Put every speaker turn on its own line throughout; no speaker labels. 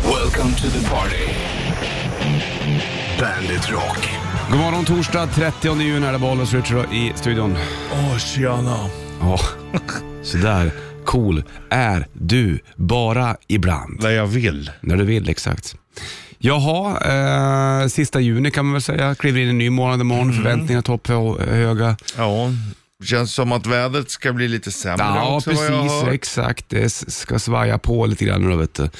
Welcome to the party. Bandit Rock.
God morgon torsdag 30 juni är det Bollnäs Richard i studion.
Åh, tjena.
Ja, sådär cool är du bara ibland.
När jag vill.
När du vill, exakt. Jaha, eh, sista juni kan man väl säga. Kliver in i en ny månad imorgon.
Mm.
Förväntningarna topphöga.
Ja, känns som att vädret ska bli lite sämre
Ja,
också vad jag
precis.
hör.
Exakt. Det s- ska svaja på lite grann då, vet du.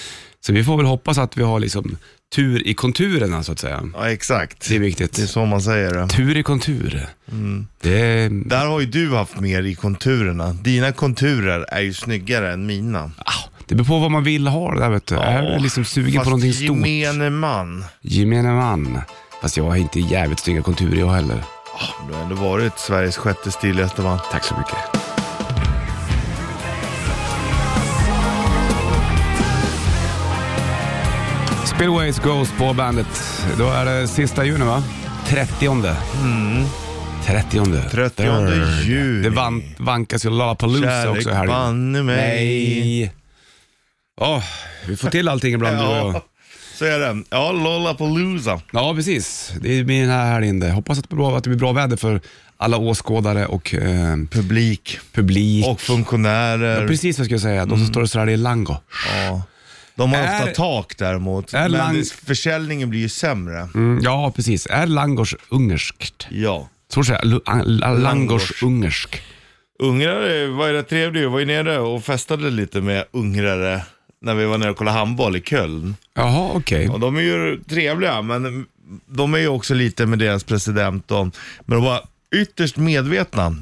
Så vi får väl hoppas att vi har liksom tur i konturerna, så att säga.
Ja, exakt.
Det är
Det är
viktigt.
så Mm. man säger det.
Tur i kontur. Det är...
Där har ju du haft mer i konturerna. Dina konturer är ju snyggare än mina.
Ah, Det beror på vad man vill ha det där, vet du. är du liksom sugen
Fast
på någonting stort?
gemene man.
Gemene man. Fast jag har inte jävligt snygga konturer jag heller.
Ah, Du har ändå varit Sveriges sjätte stiligaste man.
Tack så mycket. Spillways Ghost på bandet. Då är det sista juni va? 30. Mm. 30.
30
Third.
juni.
Det van, vankas ju Lollapalooza också i
Kärlek
helgen.
banne mig.
Nej. Åh, vi får till allting ibland du och jag.
Ja, så är det. Ja, Lollapalooza.
Ja, precis. Det blir den här helgen det. Hoppas att det, blir bra, att det blir bra väder för alla åskådare och eh,
Publik
publik.
och Mm. funktionärer.
Precis vad jag skulle säga. De som står och skrallar i lango.
Ja. De har
Är-
ofta tak däremot,
är
men
lang-
det- försäljningen blir ju sämre.
Mm, ja, precis. Är langors ungerskt?
Ja.
Så säger jag. Lu- an- la- Langors
Langors.
ungersk.
Ungrare var ju rätt trevlig. Jag var ju nere och festade lite med ungrare när vi var nere och kollade handboll i Köln.
Jaha, okej.
Och de är ju trevliga, men de är ju också lite med deras president. Och, men de var ytterst medvetna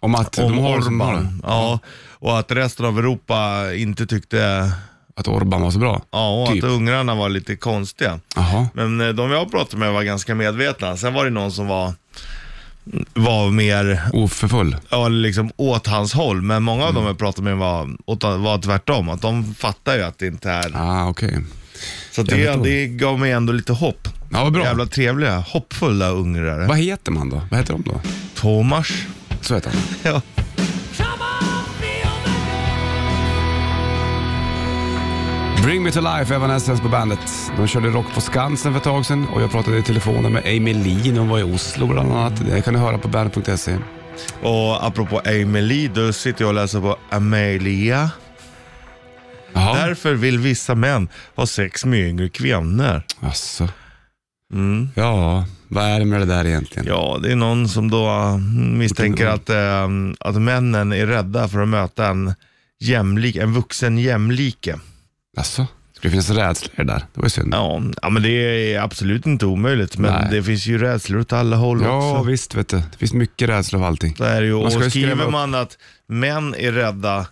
Om att de
om
har det som bara,
Orban. Ja, och att resten av Europa inte tyckte
att Orban var så bra.
Ja, och
Typ.
att ungrarna var lite konstiga.
Jaha.
Men eh, de jag pratade med var ganska medvetna. Sen var det någon som var, var mer,
Oförfull.
ja, liksom åt hans håll. Men många av dem jag pratade med var, åt, var tvärtom. Att de fattar ju att det inte är...
Ah, okej.
så
jävligt
det,
roligt.
det gav mig ändå lite hopp.
Ja, vad bra.
Jävla trevliga, hoppfulla ungrare.
Vad heter man då? Vad heter de då?
Thomas.
Så heter han.
Ja.
Bring Me To Life, Evanescence på bandet. De körde rock på Skansen för ett tag sedan och jag pratade i telefonen med Amy Lee hon var i Oslo bland annat. Det kan ni höra på bandet.se.
Och apropå Amelie, då sitter jag och läser på Amelia.
Jaha,
Därför vill vissa män ha sex med yngre kvinnor.
alltså.
Mm.
Ja, vad är det med det där egentligen?
Ja, det är någon som då eh, misstänker att, eh, att männen är rädda för att möta en, jämlik, en vuxen jämlike.
Alltså, skulle det finnas rädslor i det där? Det var ju synd.
Ja, ja, men det är absolut inte omöjligt, men
Nej.
det finns ju rädslor åt alla håll
Ja,
också.
visst vet du. Det finns mycket rädslor av allting.
Det är det ju,
Man
och
ska ju skriva
skriver
upp.
man att män är rädda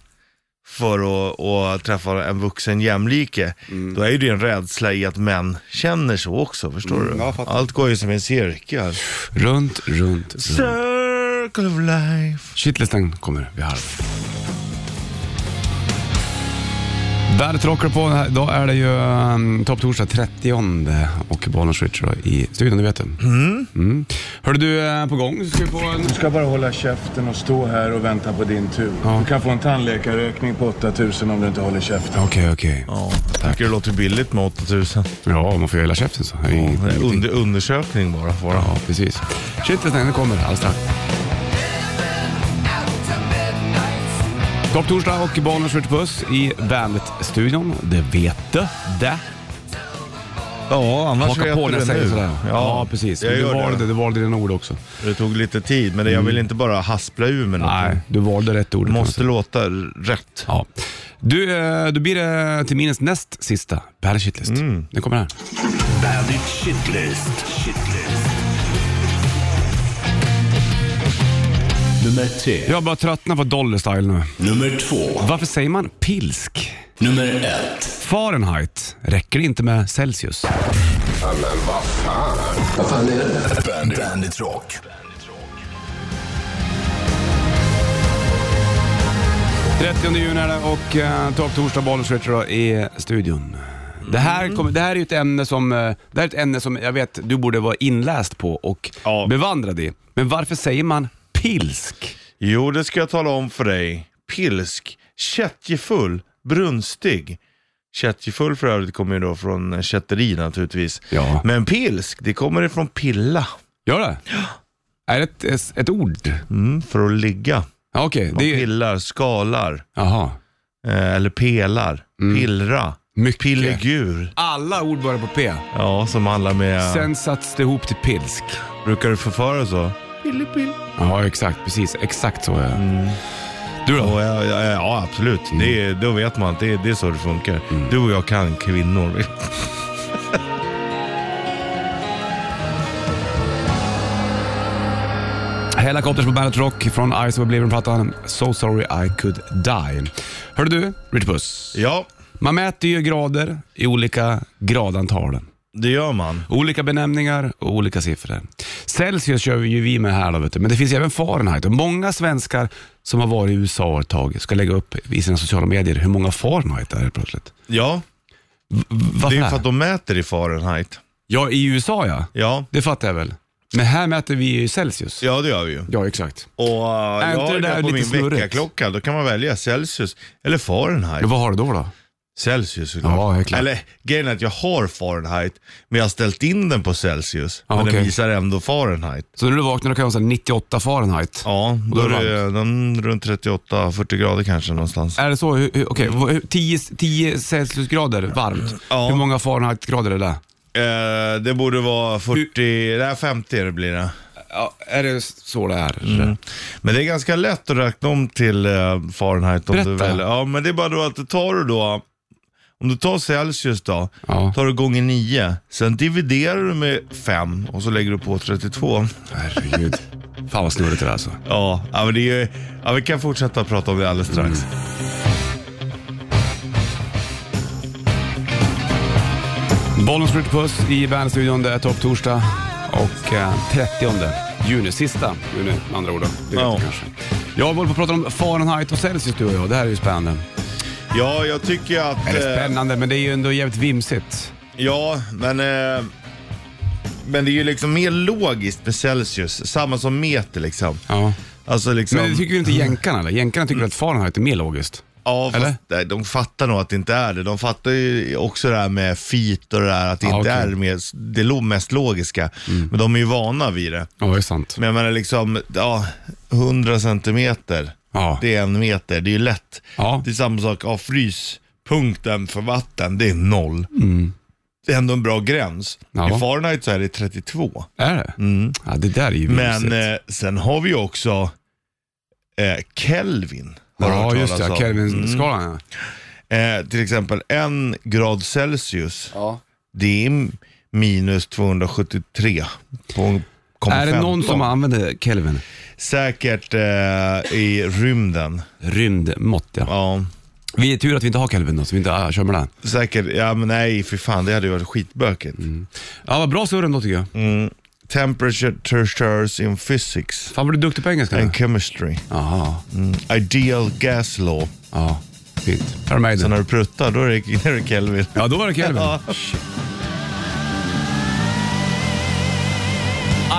för att, att träffa en vuxen jämlike,
Mm.
då är ju det en rädsla i att män känner så också, förstår du?
jag Mm, fattar.
Allt går ju som en cirkel.
Runt, runt, runt.
Circle of life.
Shitlisten kommer vid halv. Bandet rockar på. Då är det ju um, topptorsdag 30 och Bollnäs Richard då i studion, det vet du. Mm. Hörde du, eh, på gång så ska vi få en...
Du ska bara hålla käften och stå här och vänta på din tur. Du kan få en tandläkarräkning på 8000 om du inte håller käften.
Okej, okej.
Ja, tycker det låter billigt med 8000.
Ja, man får ju hela käften så. Det är
Ja,
ingenting.
Under, undersökning bara. Får
Ja, precis. Shitlisten, den kommer alldeles strax. Topptorsdag och Bollnäs Richard Puss i Bandet-studion. Det vet du. Det.
ja annars
Haka på när jag säger sådär. Ja,
Ja,
precis.
Jag
Men du
gör
valde,
det.
du valde dina ord också.
Det tog lite tid, men det- jag vill inte bara haspla ur med något.
Mm. Nej, du valde rätt ord.
Det måste låta rätt.
Ja. Du, eh, då blir det till minnes näst sista Bandit Shitlist.
Mm.
Den kommer här.
Bandit Shitlist. Shitlist. Nummer tre.
Jag har bara tröttnat på Dolly Style nu.
Nummer två.
Varför säger man pilsk?
Nummer ett.
Fahrenheit. Räcker det inte med Celsius?
Bandit, Bandit Rock. Bandit Rock.
30 juni är det och eh, Topp Torsdag Bollnäs Richard då i studion. Det här, kommer, det här är ju ett ämne som, eh, det här är ett ämne som jag vet du borde vara inläst på och
Ja.
bevandrad i. Men varför säger man pilsk?
Jo, det ska jag tala om för dig. Pilsk, kättjefull, brunstig. Köttjefull för övrigt kommer ju då från kötteri naturligtvis.
Ja.
Men pilsk, det kommer ifrån pilla.
Gör det? Är det ett, ett ord?
Mm, för att ligga.
Ja, Okej,
Man
det är...
pillar, skalar,
Jaha.
eh, eller pelar, pillra,
Mm. Mycket.
pillegur.
Alla ord börjar på P.
Ja, som handlar med...
Sen satts det ihop till pilsk.
Brukar du förföra så?
Ja, exakt. Precis. Exakt så är det. Du då?
Och, ja, ja, ja, absolut. Det,
Mm.
är- då vet man att det, är- det är så det funkar. Du och jag kan kvinnor.
Helicopters på Bandet Rock från Ice of Oblivion-plattan So Sorry I Could Die. Hörru du, Richard Puss.
Ja,
Man mäter ju grader i olika gradantal.
det gör man.
Olika benämningar och olika siffror. Celsius kör vi ju vi med här då, vet du. men det finns även Fahrenheit. Och många svenskar som har varit i USA ett tag ska lägga upp i sina sociala medier hur många Fahrenheit det är helt plötsligt.
Ja,
V-
det
Varför det
är ju för att
här?
de mäter i Fahrenheit.
Ja, i USA ja.
Ja,
Det fattar jag väl. Men här mäter vi ju Celsius.
ja det gör vi ju.
Ja, exakt.
Och uh,
Är
jag
inte
har
det
det
där
på
lite
min
snurrigt?
veckaklocka, då kan man välja Celsius eller Fahrenheit.
Men vad har du då? då?
Celsius såklart.
Ja, helt klart.
Eller grejen är att jag har Fahrenheit, men jag har ställt in den på Celsius.
Ja,
men
okej.
den visar ändå Fahrenheit.
Så när du vaknar då kan jag säga 98 Fahrenheit.
Ja,
då
då,
är
är
det
det den runt 38-40 grader kanske någonstans.
Är det så? Hur- hur- Okej, vad- hur- 10 10 Celsiusgrader varmt.
Ja.
Hur många Fahrenheitgrader är det?
Eh, det borde vara 40, nej 50 det blir det.
Ja, är det så det är?
Men det är ganska lätt att räkna om till eh, Fahrenheit om du
Berätta.
vill. Ja, men det är bara då att du tar du då, om du tar Celsius då,
Ja.
tar du gånger 9, sen dividerar du med 5 och så lägger du på 32.
Herregud. Fan vad snurrigt det där alltså.
Ja, ja, men det är ju, ja, vi kan fortsätta prata om det alldeles strax.
Bollens Puss i Bandstudion. Det är topp torsdag och eh, 30 juni. Sista juni med andra ord. då. Det vet
Ja.
du kanske. Jag håller på att prata om Fahrenheit och Celsius du och jag. Det här är ju spännande.
Ja, jag tycker att...
Eller
eh,
spännande, men det är ju ändå jävligt vimsigt.
Ja, men, eh, men det är ju liksom mer logiskt med Celsius. Samma som meter liksom.
Ja.
Alltså liksom...
Men det tycker ju inte jänkarna eller? Jänkarna tycker att Fahrenheit är mer logiskt.
Ja,
Eller?
fast nej, de fattar nog att det inte är det. De fattar ju också det här med feet och det där, att det
Ja,
inte
okej. Mm.
är det, mer, det lo- mest logiska. Men de är ju vana vid det.
Ja, det är sant.
Men jag menar liksom, ja, 100 centimeter,
Ja.
det är en meter, det är ju lätt.
Ja.
Det är samma sak, ja, fryspunkten för vatten, det är noll. Det är ändå en bra gräns.
Mm. Ja.
I Fahrenheit så är det 32.
Är det? Ja, det där är ju vimsigt.
Mm. Men eh, sen har vi ju också eh, Kelvin. Har du
Ja,
hört
just
talas
det.
om.
Kelvin-skalan ja.
Eh, till exempel en grad Celsius,
ja.
det är m- minus 273. På, komma
Är det någon
15.
som använder Kelvin?
Säkert eh, i rymden.
Rymdmått ja.
Ja,
Vi är tur att vi inte har Kelvin då, så vi inte ah, kör med den.
säkert, ja men nej för fan det hade ju varit skitbökigt.
Mm. Ja, vad bra surr ändå tycker jag.
Temperature Temperatures in Physics
Fan vad du är duktig på engelska.
and Chemistry.
Jaha,
Ideal Gas Law.
ja. Fint. Här med
Så
den.
när du pruttar då är det, då är det Kelvin.
Ja, då var det Kelvin.
Ja.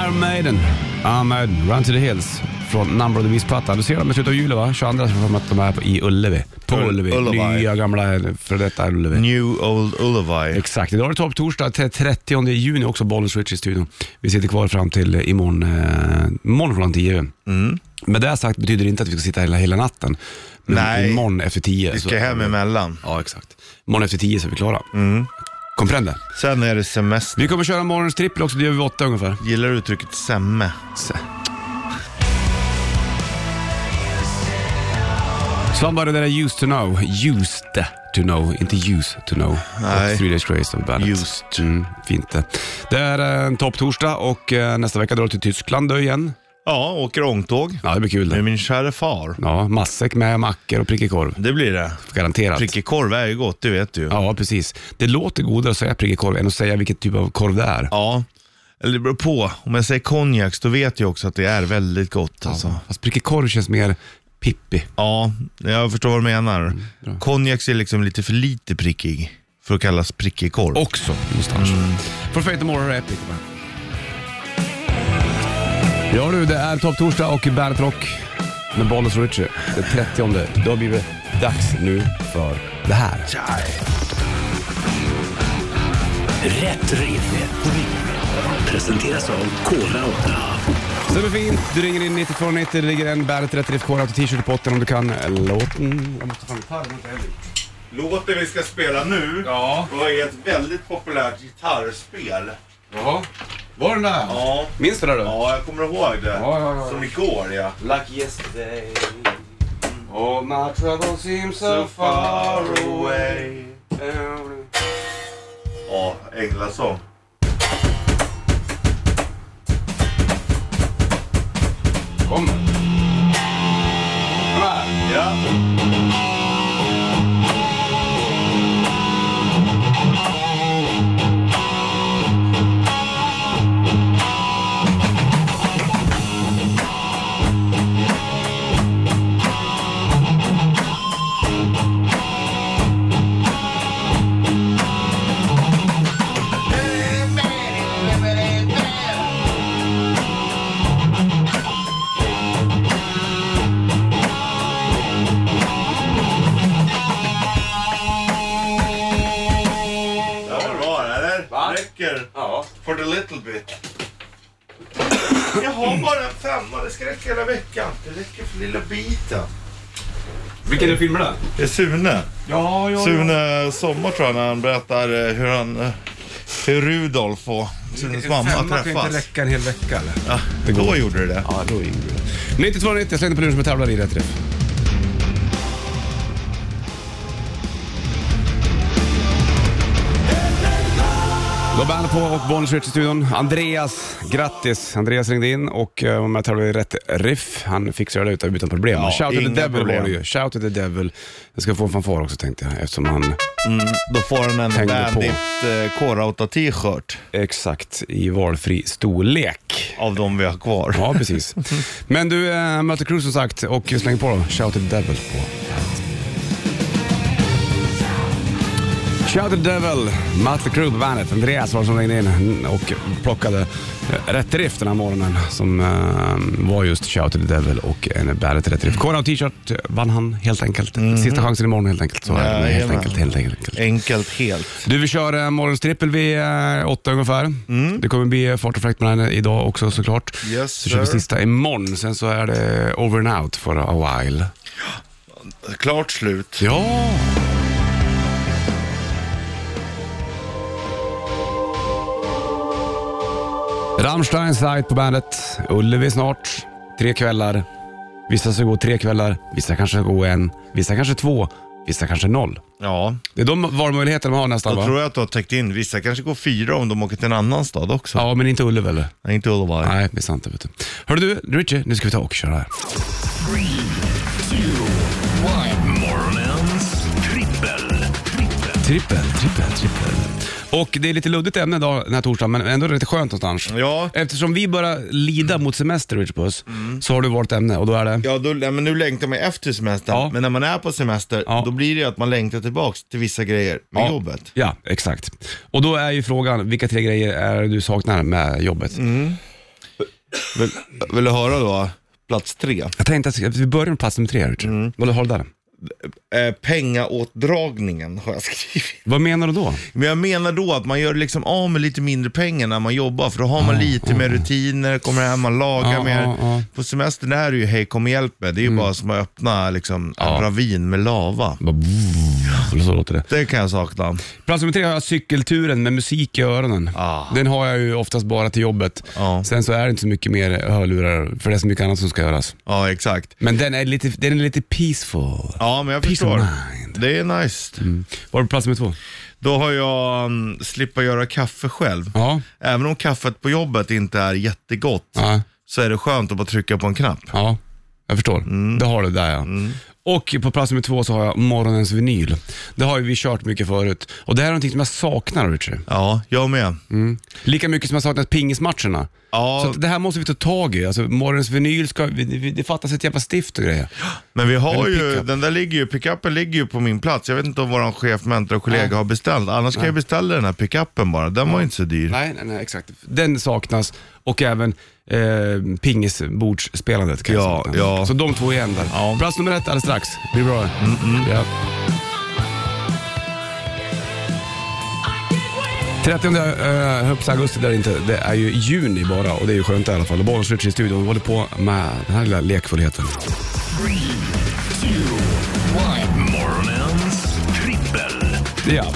Iron Maiden. Iron Maiden, Run to the Hills. Från Number of the Beast-plattan. Du ser dem i slutet av juli va? 22 så får de att de är på- i Ullevi. På
Ull-
Ullevi.
Ullevi.
Nya gamla, före detta Ullevi.
New Old Ullaby.
Exakt, idag är det topp torsdag till 30 juni också, Bollens Rich i studion. Vi sitter kvar fram till eh, imorgon, eh, imorgon klockan 10. Mm. Med det sagt betyder det inte att vi ska sitta hela, hela natten. Men
Nej.
imorgon efter 10.
Vi
så-
ska hem emellan.
Ja, exakt. Imorgon efter 10 så är vi klara. Mm. Comprende?
Sen är det semester.
Vi kommer köra morgonens trippel också, det gör vi vid åtta ungefär.
Gillar du uttrycket semme?
Så. Somebody that I used to know, used to know, inte used to know.
Nej.
Och Three Days Grace av bandet.
Used.
Mm, fint det. Det är eh, en topptorsdag och eh, nästa vecka drar du till Tyskland då igen.
Ja, åker ångtåg
Ja, det blir kul
med
det.
min kära far.
Ja, matsäck med mackor och prickig korv.
Det blir det.
Garanterat.
Prickig korv är ju gott, det vet du ju.
Ja, precis. Det låter godare att säga prickig korv än att säga vilket typ av korv det är.
Ja. Eller det beror på. Om jag säger konjaks, då vet jag också att det är väldigt gott. Alltså.
Fast prickig korv känns mer pippi.
Ja, jag förstår vad du menar. Konjaks är liksom lite för lite prickig för att kallas prickig korv.
Också någonstans. För Fate No More är Epic. va? Ja du, det är Topp Torsdag och Bandet Rock med Bollnäs och Richie. Det 30 det har blivit dags nu för det här.
Rätt riff. Presenteras av Kora 8.
Stämmer fint. Du ringer in 9290. Det ligger en Bandet Rätt Riff Core T-shirt på botten om du kan eh, låten. Jag måste fan gitarren, inte heller.
Låten vi ska spela nu
Ja.
var ju ett väldigt populärt gitarrspel.
Jaha. Var den där?
Ja.
Minns du det då?
Ja, jag kommer ihåg det.
Ja, ja, ja.
Som igår ja.
Like yesterday. All my troubles seem so
Ja, änglasång.
Kom. Kom här.
Ja. Ja, det var bra, eller?
Va?
Räcker.
Ja.
For the little bit. Jag har bara en femma, det ska räcka hela veckan. Det räcker för lilla biten.
Vilken är filmen där?
Det är Sune.
Ja, ja,
Sune Sommar tror jag när han berättar eh, hur han... eh, Hur Rudolf och Sunes mamma
Femma kan ju inte
träffas.
räcka en hel vecka eller?
Ja, då gjorde det det.
Ja, då är det 9290, släng på luren som en tävlar i rätt träff. Då band på och Bonniers Rich i studion. Andreas, grattis! Andreas ringde in och eh, var med och tävlade i rätt riff. Han fixade det ut utan problem.
Ja,
Shout to the
inga
devil
problem.
var det ju. Shout to the devil. Jag ska få en fanfar också tänkte jag eftersom han
Då får han en
Hängde på.
Bandit eh, K-Rauta t-shirt
exakt i valfri storlek.
av de vi har kvar.
Ja, precis. Men du, äh, möter Cruise som sagt och släng på då. Shout to the devil på Shout to the devil, Mötley Crüe på bandet. Andreas var det som ringde in och plockade eh, rätt riff den här morgonen som eh, var just Shout to the devil och en bandet rätt riff. Kora och t-shirt vann han helt enkelt. Sista chansen imorgon helt enkelt. Så är det. helt
Jajamän.
enkelt, helt enkelt.
Enkelt helt.
Du, vi kör eh, morgonstrippel vid eh, åtta ungefär. Det kommer bli eh, fart och fläkt med den här idag också såklart.
Mm. Yes,
så kör vi
sir.
sista imorgon, sen så är det over and out for a while.
Klart slut.
Ja! Rammstein Sight på bandet. Ullevi snart. Tre kvällar. Vissa ska gå tre kvällar, vissa kanske ska gå en, vissa kanske två, vissa kanske noll.
Ja,
Det är de valmöjligheter man har nästan
då
va?
tror jag att du har täckt in. Vissa kanske går fyra om de åker till en annan stad också.
Ja, men inte Ullevi eller?
Nej, inte Ullaberg.
Nej, det är sant. det Vet du. Hörru du, Richie, nu ska vi ta och köra här.
Morgonens trippel. Trippel.
Trippel, trippel, trippel. Och det är lite luddigt ämne idag den här torsdagen, men ändå är det lite skönt någonstans.
Ja.
Eftersom vi börjar lida mot semester, Richie Puss, så har du valt ämne och då är det?
Mm. Ja, då, nej, men nu längtar man efter semestern.
Ja.
Men när man är på semester,
Ja.
då blir det ju att man längtar tillbaks till vissa grejer med jobbet.
Ja, exakt. Och då är ju frågan, vilka tre grejer är det du saknar med jobbet?
Mm. Vill, vill du höra då? Plats tre.
Jag tänkte att vi börjar med plats nummer tre, Richie.
Mm.
Vad har du där?
Eh, pengaåtdragningen har jag skrivit.
Vad menar du då?
Men jag menar då att man gör liksom av med lite mindre pengar när man jobbar, för då har man lite mer rutiner, kommer hem, man lagar
Ja,
mer.
ja, ja. Mm.
På semestern är det ju, hej kom och hjälp mig. Det är ju bara som att öppna liksom,
Ja.
en ravin med lava.
Bara, eller så låter det.
Det kan jag sakna.
Plats nummer tre har jag cykelturen med musik i öronen.
Ah.
Den har jag ju oftast bara till jobbet.
Ja.
Sen så är det inte så mycket mer hörlurar, för det är så mycket annat som ska göras.
Ja, exakt.
Men den är lite, den är lite peaceful.
Ja, men jag
Peace of
förstår.
mind.
Det är nice.
Var det plats nummer två?
Då har jag um, slippa göra kaffe själv.
Ja.
Även om kaffet på jobbet inte är jättegott
Ja,
så är det skönt att bara trycka på en knapp.
ja. jag förstår. Det har du där ja. Och på plats nummer två så har jag morgonens vinyl. Det har ju vi kört mycket förut. Och det här är någonting som jag saknar Richard.
Ja, jag med.
Mm. Lika mycket som jag saknat pingismatcherna.
Ja.
Så att det här måste vi ta tag i. Alltså, morgonens vinyl, ska, vi- vi- det fattas ett jävla stift och grejer.
Men vi har
Eller
ju,
pickup.
den där ligger ju, pickupen ligger ju på min plats. Jag vet inte om vår chef, mentor och kollega
Nej.
har beställt. Annars kan jag beställa den här pickupen bara. Den var ju inte så dyr.
Nej, nej, nej, exakt. Den saknas och även eh, pingisbordsspelandet kan jag
Ja,
sakna.
ja.
Så de två igen där.
Ja. Mm,
Plats nummer ett alldeles strax. Det blir bra det. Ja. 30 eh, högst augusti där inte, det är ju juni bara och det är ju skönt i alla fall. Och Bollen i studion och vi håller på med den här lilla lekfullheten.
Morgonens trippel.
Ja,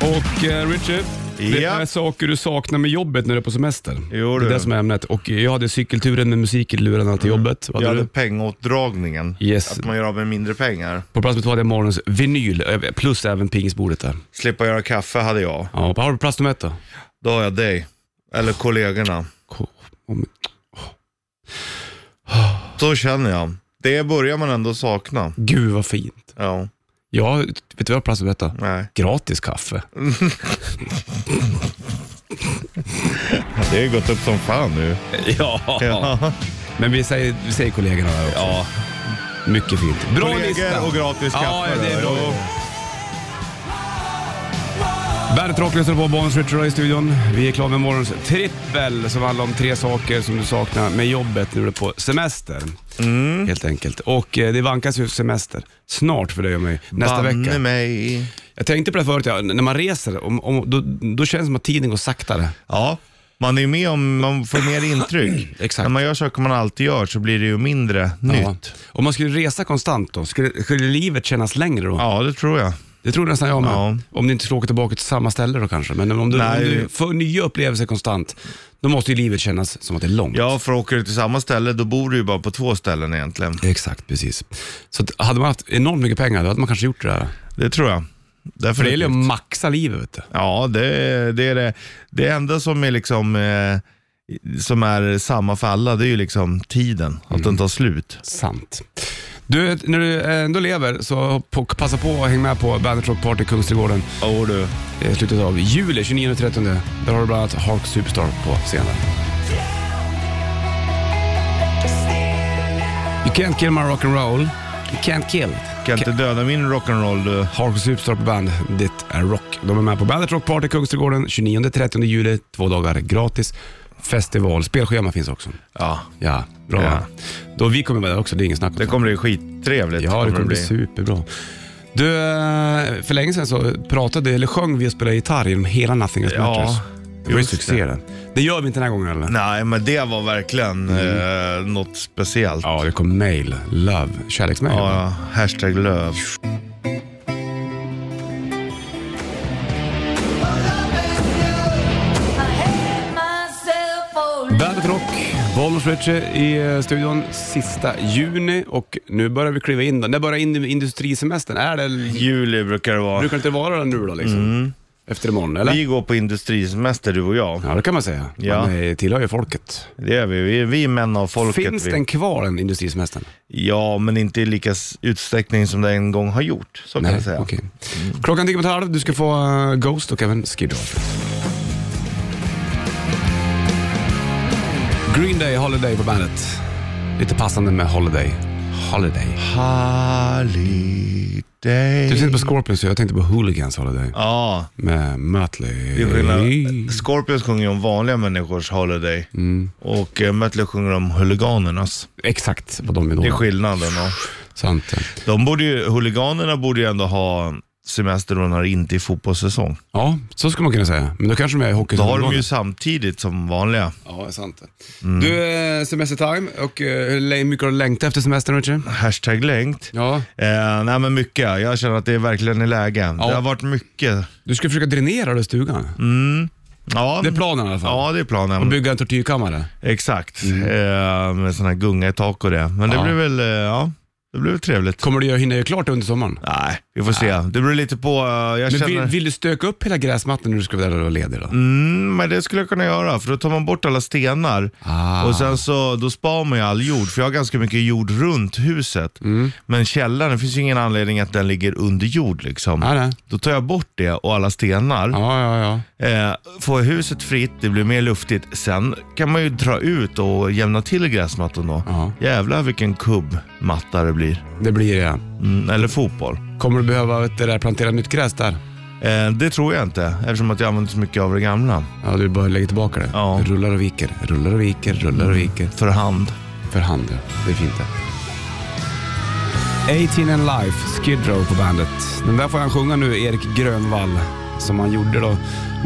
och eh, Richard. Det
Ja.
är saker du saknar med jobbet när du är på semester.
Jo,
det är
du. Mm.
det som är ämnet. Och jag hade cykelturen med musik i lurarna till jobbet. Vad
Jag
hade
hade
du?
pengaåtdragningen.
Yes.
Att man gör av med mindre pengar.
På plats med två hade jag morgonens vinyl, eh, plus även pingisbordet där.
Slippa göra kaffe hade jag.
Ja, och har du plats nummer ett då?
Då har jag dig. Eller kollegorna.
Ko- om-
Så känner jag. Det börjar man ändå sakna.
Gud vad fint.
Ja,
Ja, vet du vad jag har plats nummer ett då?
nej.
Gratis kaffe.
Det har gått upp som fan nu.
Ja.
Ja.
Men vi säger, vi säger kollegorna där också. Ja. Mycket fint. Bra lista.
Kollegor och gratis kaffe.
Ja,
då.
det är bra.
Jo.
Bandet Rock lyssnar på Bonus Richard i studion. Vi är klara med morgons trippel som handlar om tre saker som du saknar med jobbet när du är på semester.
Mm.
Helt enkelt. Och eh, det vankas ju semester snart för dig och mig. Nästa
Banne
vecka.
mig.
Jag tänkte på det förut, ja, n- när man reser, om, om, då, då känns det som att tiden går saktare.
Ja, man är med om, man får mer intryck.
Exakt.
När man gör saker man alltid gör så blir det ju mindre
Ja.
nytt.
Om man skulle resa konstant då, skulle, skulle livet kännas längre då?
Ja, det tror jag.
Det tror nästan jag med.
Ja.
Om du inte skulle åka tillbaka till samma ställe då kanske. Men om du, om
Nej.
du får nya upplevelser konstant, då måste ju livet kännas som att det är långt.
Ja, för åker du till samma ställe då bor du ju bara på två ställen egentligen.
Exakt, precis. Så att hade man haft enormt mycket pengar, då hade man kanske gjort det där.
Det tror jag. Därför
För det gäller ju att maxa livet. Vet du.
Ja, det, det är det. Det enda som är liksom eh, som är samma för alla, det är ju liksom tiden. Att
Mm.
den tar slut.
Sant. Du, när du ändå lever, så på- passa på att hänga med på Bandet Rock Party Kungsträdgården
Åh du.
i slutet av juli, 29 och 30. Där har du bland annat Hark Superstar på scenen. You can't kill my rock'n'roll. You can't kill it.
Kan inte döda min rock'n'roll du.
Hark Superstar på band, ditt är rock. De är med på Bandet Rock Party Kungsträdgården 29-30 juli. Två dagar gratis. Festival. Spelschema finns också.
Ja,
Ja, bra.
Ja.
Då, vi kommer vara där också, det är ingen snack om
det kommer bli skittrevligt.
Ja, det kommer bli superbra. Du, eh, för länge sedan så pratade, eller sjöng vi och spelade gitarr genom hela Nothing Else
Ja,
Matters. Det var ju
just
succé
det.
det. det gör vi inte den här gången eller?
Nej, men det var verkligen eh, något speciellt.
Mm. Ja, det kom mail. Love. Kärleksmail.
Ja, ja. hashtag löv.
Bandet Rock, Bollnäs Ritchie i eh, studion sista juni och nu börjar vi kliva in. då. När börjar in industrisemestern? Är det,
Juli brukar det vara.
brukar det inte vara det nu då liksom? Efter imorgon eller?
Mm. Vi går på industrisemester du och jag.
Ja, det kan man säga.
Ja.
Man eh, tillhör ju folket.
Det är vi. Vi är, vi är män av folket.
Finns
vi.
den kvar, den industrisemestern?
Ja, men inte i lika s- utsträckning som det en gång har gjort. Så kan jag säga. Mm.
okej. Klockan tickar mot halv. Du ska få eh, Ghost och även Skid Row. Green Day, Holiday på bandet. Lite passande med Holiday. Holiday.
Holiday.
Du tänkte på Scorpions, så jag tänkte på Hooligans Holiday.
Ja,
Med Mötley.
det är skillnad. Scorpions sjunger ju om vanliga människors Holiday.
Mm.
Och eh, Mötley sjunger om huliganernas.
Exakt vad de är
Det är
då.
skillnaden. Och
Sant.
de borde ju, huliganerna borde ju ändå ha semester då när det inte är fotbollssäsong.
Ja, så skulle man kunna säga. Men då kanske de är hockey.
Då har de ju samtidigt som vanliga.
Ja, det är sant. Du, eh, semestertime. Och eh, hur länge- mycket har du längtat efter semestern, Richard?
Hashtag längt.
Ja.
Eh, nej men mycket. Jag känner att det är verkligen i läge. Det har varit mycket.
Du ska försöka dränera den stugan.
Ja,
Det är planen i alla fall.
Mm. ja det är planen.
Och bygga en tortyrkammare.
Exakt. Eh, med sån här gunga i tak och det. Men det
Ja.
blir väl, eh, ja, det blir väl trevligt.
Kommer du göra- hinna göra klart det under sommaren?
Nej, vi får se. Det beror lite på. eh, Jag
Men
känner...
vill, vill du stöka upp hela gräsmattan när du ska vara där och vara ledig då?
Mm, men det skulle jag kunna göra, för då tar man bort alla stenar.
Ah.
Och sen så, då spar man ju all jord, för jag har ganska mycket jord runt huset.
Mm.
Men källaren, det finns ju ingen anledning att den ligger under jord liksom.
Ja, nej.
Då tar jag bort det och alla stenar.
ja, ja, ja.
Eh, får huset fritt, det blir mer luftigt. Sen kan man ju dra ut och jämna till gräsmattan då.
Ja.
Jävlar vilken kubbmatta det blir.
Det blir det.
Mm, eller fotboll.
Kommer du behöva vet du, där, plantera nytt gräs där?
Eh, det tror jag inte, eftersom att jag använder så mycket av det gamla.
Ja, du bara lägger tillbaka det.
Ja.
Det Rullar och viker, rullar och viker, rullar och viker.
För hand.
För hand, ja. Det är fint det. 18 and Life, Skid Row på bandet. Den där får han sjunga nu, Erik Grönvall, som han gjorde då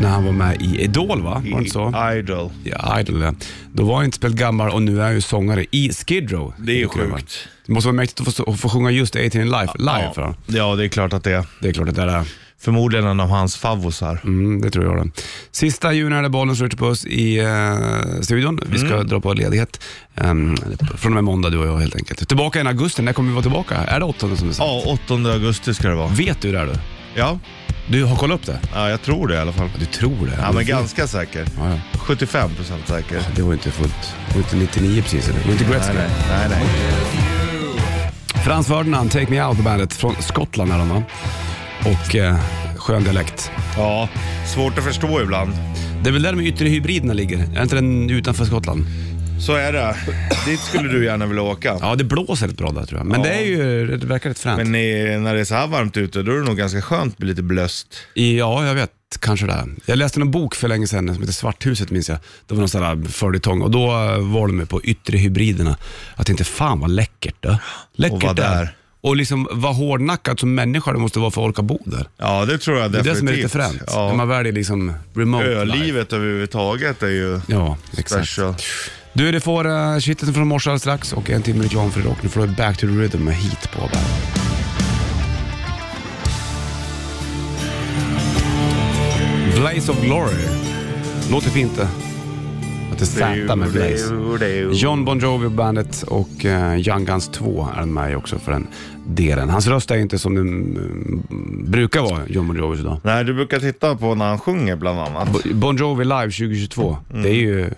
när han var med i Idol va? Var det inte så?
Idol.
Ja, Idol ja. Då var han inte spelat gammal och nu är han ju sångare i Skid Row.
Det är ju
Vilket kul, va?
sjukt.
Det måste vara mäktigt att få, stå- att få sjunga just 18 in life live för honom.
Ja, det är klart att det är.
Det är klart att det är.
Förmodligen en av hans favvosar.
Mm, det tror jag den. Sista juni är det bollen som skjuter på oss i eh, studion. Vi ska
Mm.
dra på ledighet ehm, från och med måndag du och jag helt enkelt. Tillbaka i augusti, när kommer vi vara tillbaka? Är det 8 som du sa?
Ja, 8 augusti ska det vara.
Vet du det här, du?
Ja,
Du har kollat upp det?
ja jag tror det i alla fall.
Du tror det?
Ja,
Du-
men ganska säker.
Ja, ja.
75 procent säker.
Det var ju inte fullt. Det var inte 99 precis eller? Det var inte
Nej,
Gretzky.
nej, nej. nej.
Frans Ferdinand, Take Me Out, bandet från Skottland är de va? Och eh, skön dialekt.
Ja, svårt att förstå ibland.
Det är väl där de yttre hybriderna ligger? Är inte den utanför Skottland?
Så är det. Dit skulle du gärna vilja åka.
Ja, det blåser rätt bra där tror jag. Men
Ja.
det är ju, det verkar rätt fränt.
Men eh, när det är så här varmt ute, då är det nog ganska skönt att bli lite blöst.
Ja, jag vet. Kanske det. Jag läste en bok för länge sedan som heter Svarthuset minns jag. Det var någon sån där följetong och då eh, var de med på yttre hybriderna. Att inte fan vad läckert det Läckert
Och vara
det är.
där.
Och liksom vad hårdnackad som människa du måste vara för att orka bo där.
Ja, det tror jag
Det är
definitivt.
det som är lite fränt. När
Ja.
man väljer liksom remote life.
Ölivet överhuvudtaget är ju
Ja, exakt.
special.
Du, du får uh, kittet från morse alldeles strax och en timme reklam för rock. Nu får du Back to the Rhythm med Heat på bandet. Blaze of Glory. Låter fint det. Att det är Z med Blaze. John Bon Jovi på bandet och eh, Young Guns 2 är med ju också för den delen. Hans röst är ju inte som den mm, brukar vara, John Bon Jovis idag.
Nej, du brukar titta på när han sjunger bland annat.
Bo- Bon Jovi live 2022. Det är ju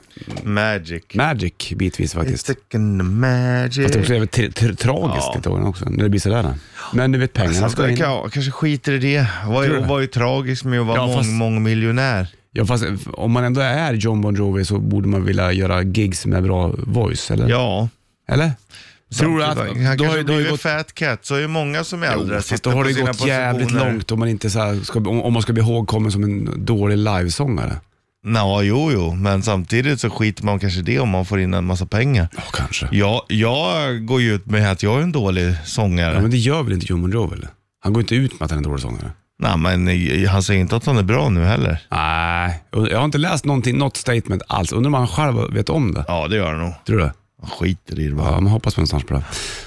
Magic.
magic bitvis faktiskt.
Second magic.
Fast det också
Eh,
är väl tra- tra- tragiskt i tågen också, när det blir sådär. Men du vet, pengarna
Sen
ska
ska
in.
Alltså, jag kan- kanske skiter i det. Vad
Tror du
är,
det?
vad är tragiskt med att vara
Ja,
mång,
fast-
mångmiljonär?
Ja, fast om man ändå är John Bon Jovi så borde man vilja göra gigs med bra voice, eller?
Ja.
Eller? Tror du att...
Han kanske
då har, ju- då har ju
blivit
gått,
fat cat, så är ju många som är äldre.
jo, fast
sitter
då har
på
det
sina
gått jävligt
positioner.
långt om man, inte så här ska, om, om man ska bli ihågkommen som en dålig livesångare.
Nå, jo, jo, men samtidigt så skiter man kanske i det om man får in en massa pengar.
Ja, kanske.
Ja, jag går ju ut med att jag är en dålig sångare.
Ja, men det gör väl inte John Bon Jovi? Eller? Han går inte ut med att han är en dålig sångare.
Nej, men eh, han säger inte att han är bra nu heller.
Nej, jag har inte läst någonting, något statement alls. Undrar om han själv vet om det.
Ja, det gör han nog.
Tror du det?
Han skiter i det bara.
Ja, man hoppas på någonstans på det.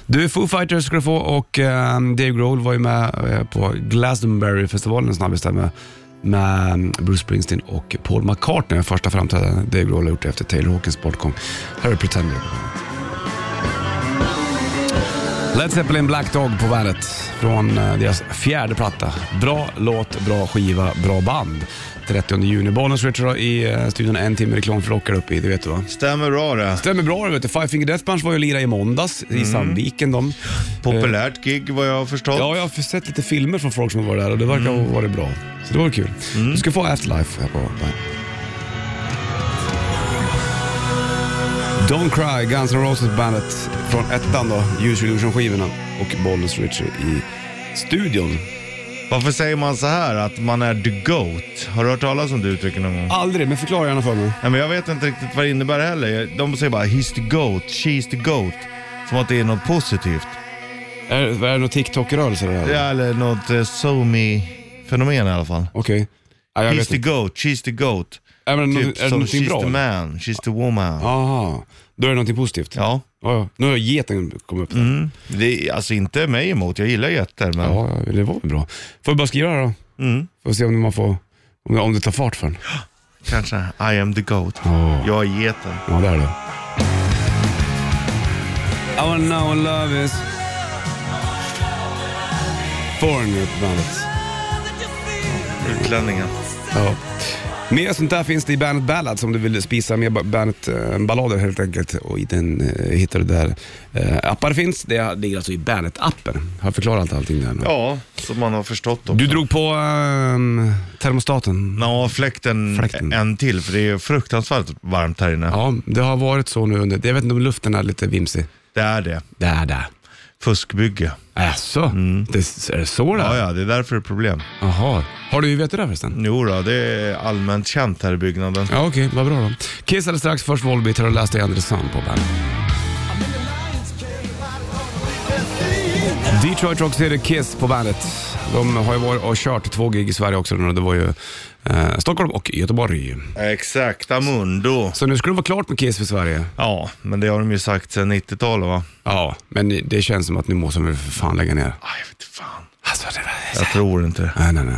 Du, Foo Fighters ska du få och eh, Dave Grohl var ju med eh, på Glastonbury-festivalen snabbast där med, med Bruce Springsteen och Paul McCartney. Första framträdandet Dave Grohl har gjort efter Taylor Hawkins bortgång. Här är Pretender. Led Zeppelin Black Dog på bandet från eh, deras fjärde platta. Bra låt, bra skiva, bra band. 30 juni. Bollnäs Richard i eh, studion. En timme reklam för rockar uppe i, det vet du va?
Stämmer bra det.
Stämmer bra det vet du. Five Finger Death Punch var ju och lirade i måndags
Mm.
i Sandviken. De.
Populärt gig vad jag har förstått.
Ja, jag har sett lite filmer från folk som har varit där och det verkar
Mm.
ha varit bra. Så det var kul. Du ska få Afterlife här på bandet. Don't Cry, Guns N' Roses bandet från ettan då, Use Illusion-skivorna och Bollnäs Richie i studion.
Varför säger man så här att man är the GOAT? Har du hört talas om det uttrycket någon gång?
Aldrig, men förklara gärna för mig.
Nej, men jag vet inte riktigt vad det innebär heller. De säger bara “He's the GOAT”, “She's the GOAT”. Som att det är något positivt.
Är, är det någon TikTok-rörelse det här?
Ja, eller något eh, SoMe fenomen i alla fall.
Okej. Nej, jag
He's
vet
the
inte.
GOAT, “She's the GOAT”.
Är det, någon-
Typ
är det
som
någonting
“She's
bra?
the man”, “She's the woman”.
Aha. Då är det någonting positivt?
Ja.
Ja, ja. nu har geten kommit upp. Mm.
Det är, alltså inte mig emot, jag gillar getter men...
Ja, ja, det var väl bra. Får vi bara skriva det då?
Mm.
Får se om man får, om, om det tar fart för en.
Kanske I am the GOAT.
Ja.
Jag är geten.
Ja, det är det. I wanna know what love is. Foreigner på bandet.
Utlänningen.
Ja. Mer sånt där finns det i Bandet Ballads om du vill spisa mer ba- Bandet eh, ballader helt enkelt. Och i den eh, hittar du där eh, appar finns. Det ligger alltså i Bandet-appen. Har jag förklarat allt- allting där nu?
Ja, som man har förstått också.
Du drog på ehm, termostaten.
Ja, fläkten,
Fläkten.
en till för det är fruktansvärt varmt här inne.
Ja, det har varit så nu under... Jag vet inte om luften är lite vimsig.
Det är det.
Där, där. Äh,
Fuskbygge.
Jaså? Det, är det så det
Mm. Ja, Mm.
är?
ja, det är därför det är problem.
Jaha. Har du vetat det här förresten?
Jo då, det är allmänt känt här i byggnaden.
Ja, okej. Vad bra då. Kiss alldeles strax, först Volbeat. Har du läst det Anders Sand på bandet? Detroit Rock City Kiss på bandet. De har ju varit och kört två gig i Sverige också. nu. Det var ju eh, Stockholm och Göteborg.
Exakt, Amundo.
Så nu skulle det vara klart med Kiss för Sverige.
Ja, men det har de ju sagt sedan 90-talet va?
Ja, men det känns som att nu måste vi för fan lägga ner.
Ah, jag vet fan.
Alltså, det var...
Jag tror inte det.
Nej, nej, nej.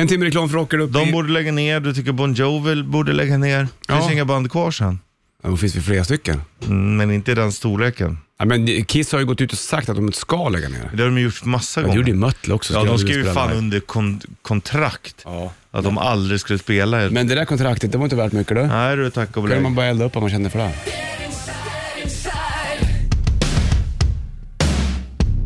En timme reklam för Rocker upp
De
i...
borde lägga ner, du tycker Bon Jovi borde lägga ner. Det finns
Ja.
inga band kvar sen.
Ja, Då finns vi flera stycken.
Mm, men inte i den storleken.
Ja, men Kiss har ju gått ut och sagt att de ska lägga ner.
Det har de gjort massa
Ja, det
gånger.
gjorde ju Mötley också.
ja,
skulle
de
aldrig
skrev ju
spela
fan
live.
under kon- kontrakt
Ja.
att de aldrig skulle spela.
Men det där kontraktet, det var inte värt mycket du.
Nej du, tack och
kunde man
belägg.
bara elda upp om man kände för det.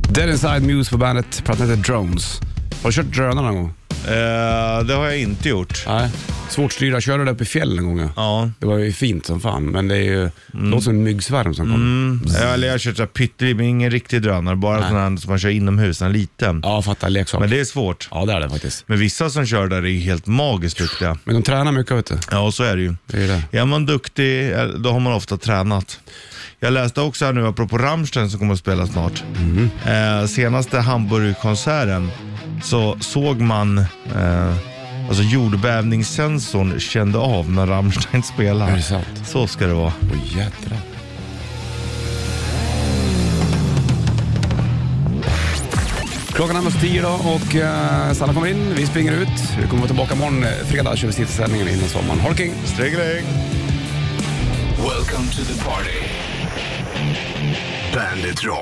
Dead Inside Muse på bandet, plattan heter Drones. Har du kört drönare någon gång?
Eh, det har jag inte gjort.
Nej. Svårt att styra. Körde du upp i fjällen en gång? Ja.
Ja. Mm.
Det var ju fint som fan, men det är ju... Det låter som en myggsvärm som kommer.
Ja, Eller jag har kört så här pyttelite, men ingen riktig drönare. Bara sån här som man kör inomhus, en liten.
Ja, fattar. Leksak.
Men det är svårt.
Ja, det är det faktiskt.
Men vissa som kör där är ju helt magiskt duktiga.
Men de tränar mycket vet du.
Ja, så är det ju.
Det är ju det.
Är man duktig, eh, då har man ofta tränat. Jag läste också här nu, apropå Rammstein som kommer att spela snart.
Mhm.
Eh, senaste Hamburgkonserten så såg man, eh, alltså jordbävningssensorn kände av när Rammstein
Är det
spelade.
sant?
Så ska det vara.
Åh jädrar. Klockan är närmast tio då och eh, Sanna kommer in, vi springer ut. Vi kommer vara tillbaka imorgon eh, fredag, kör vi sista sändningen innan sommaren. Ha det king!
Sträglägg!
Welcome to the party. Bandit Rock.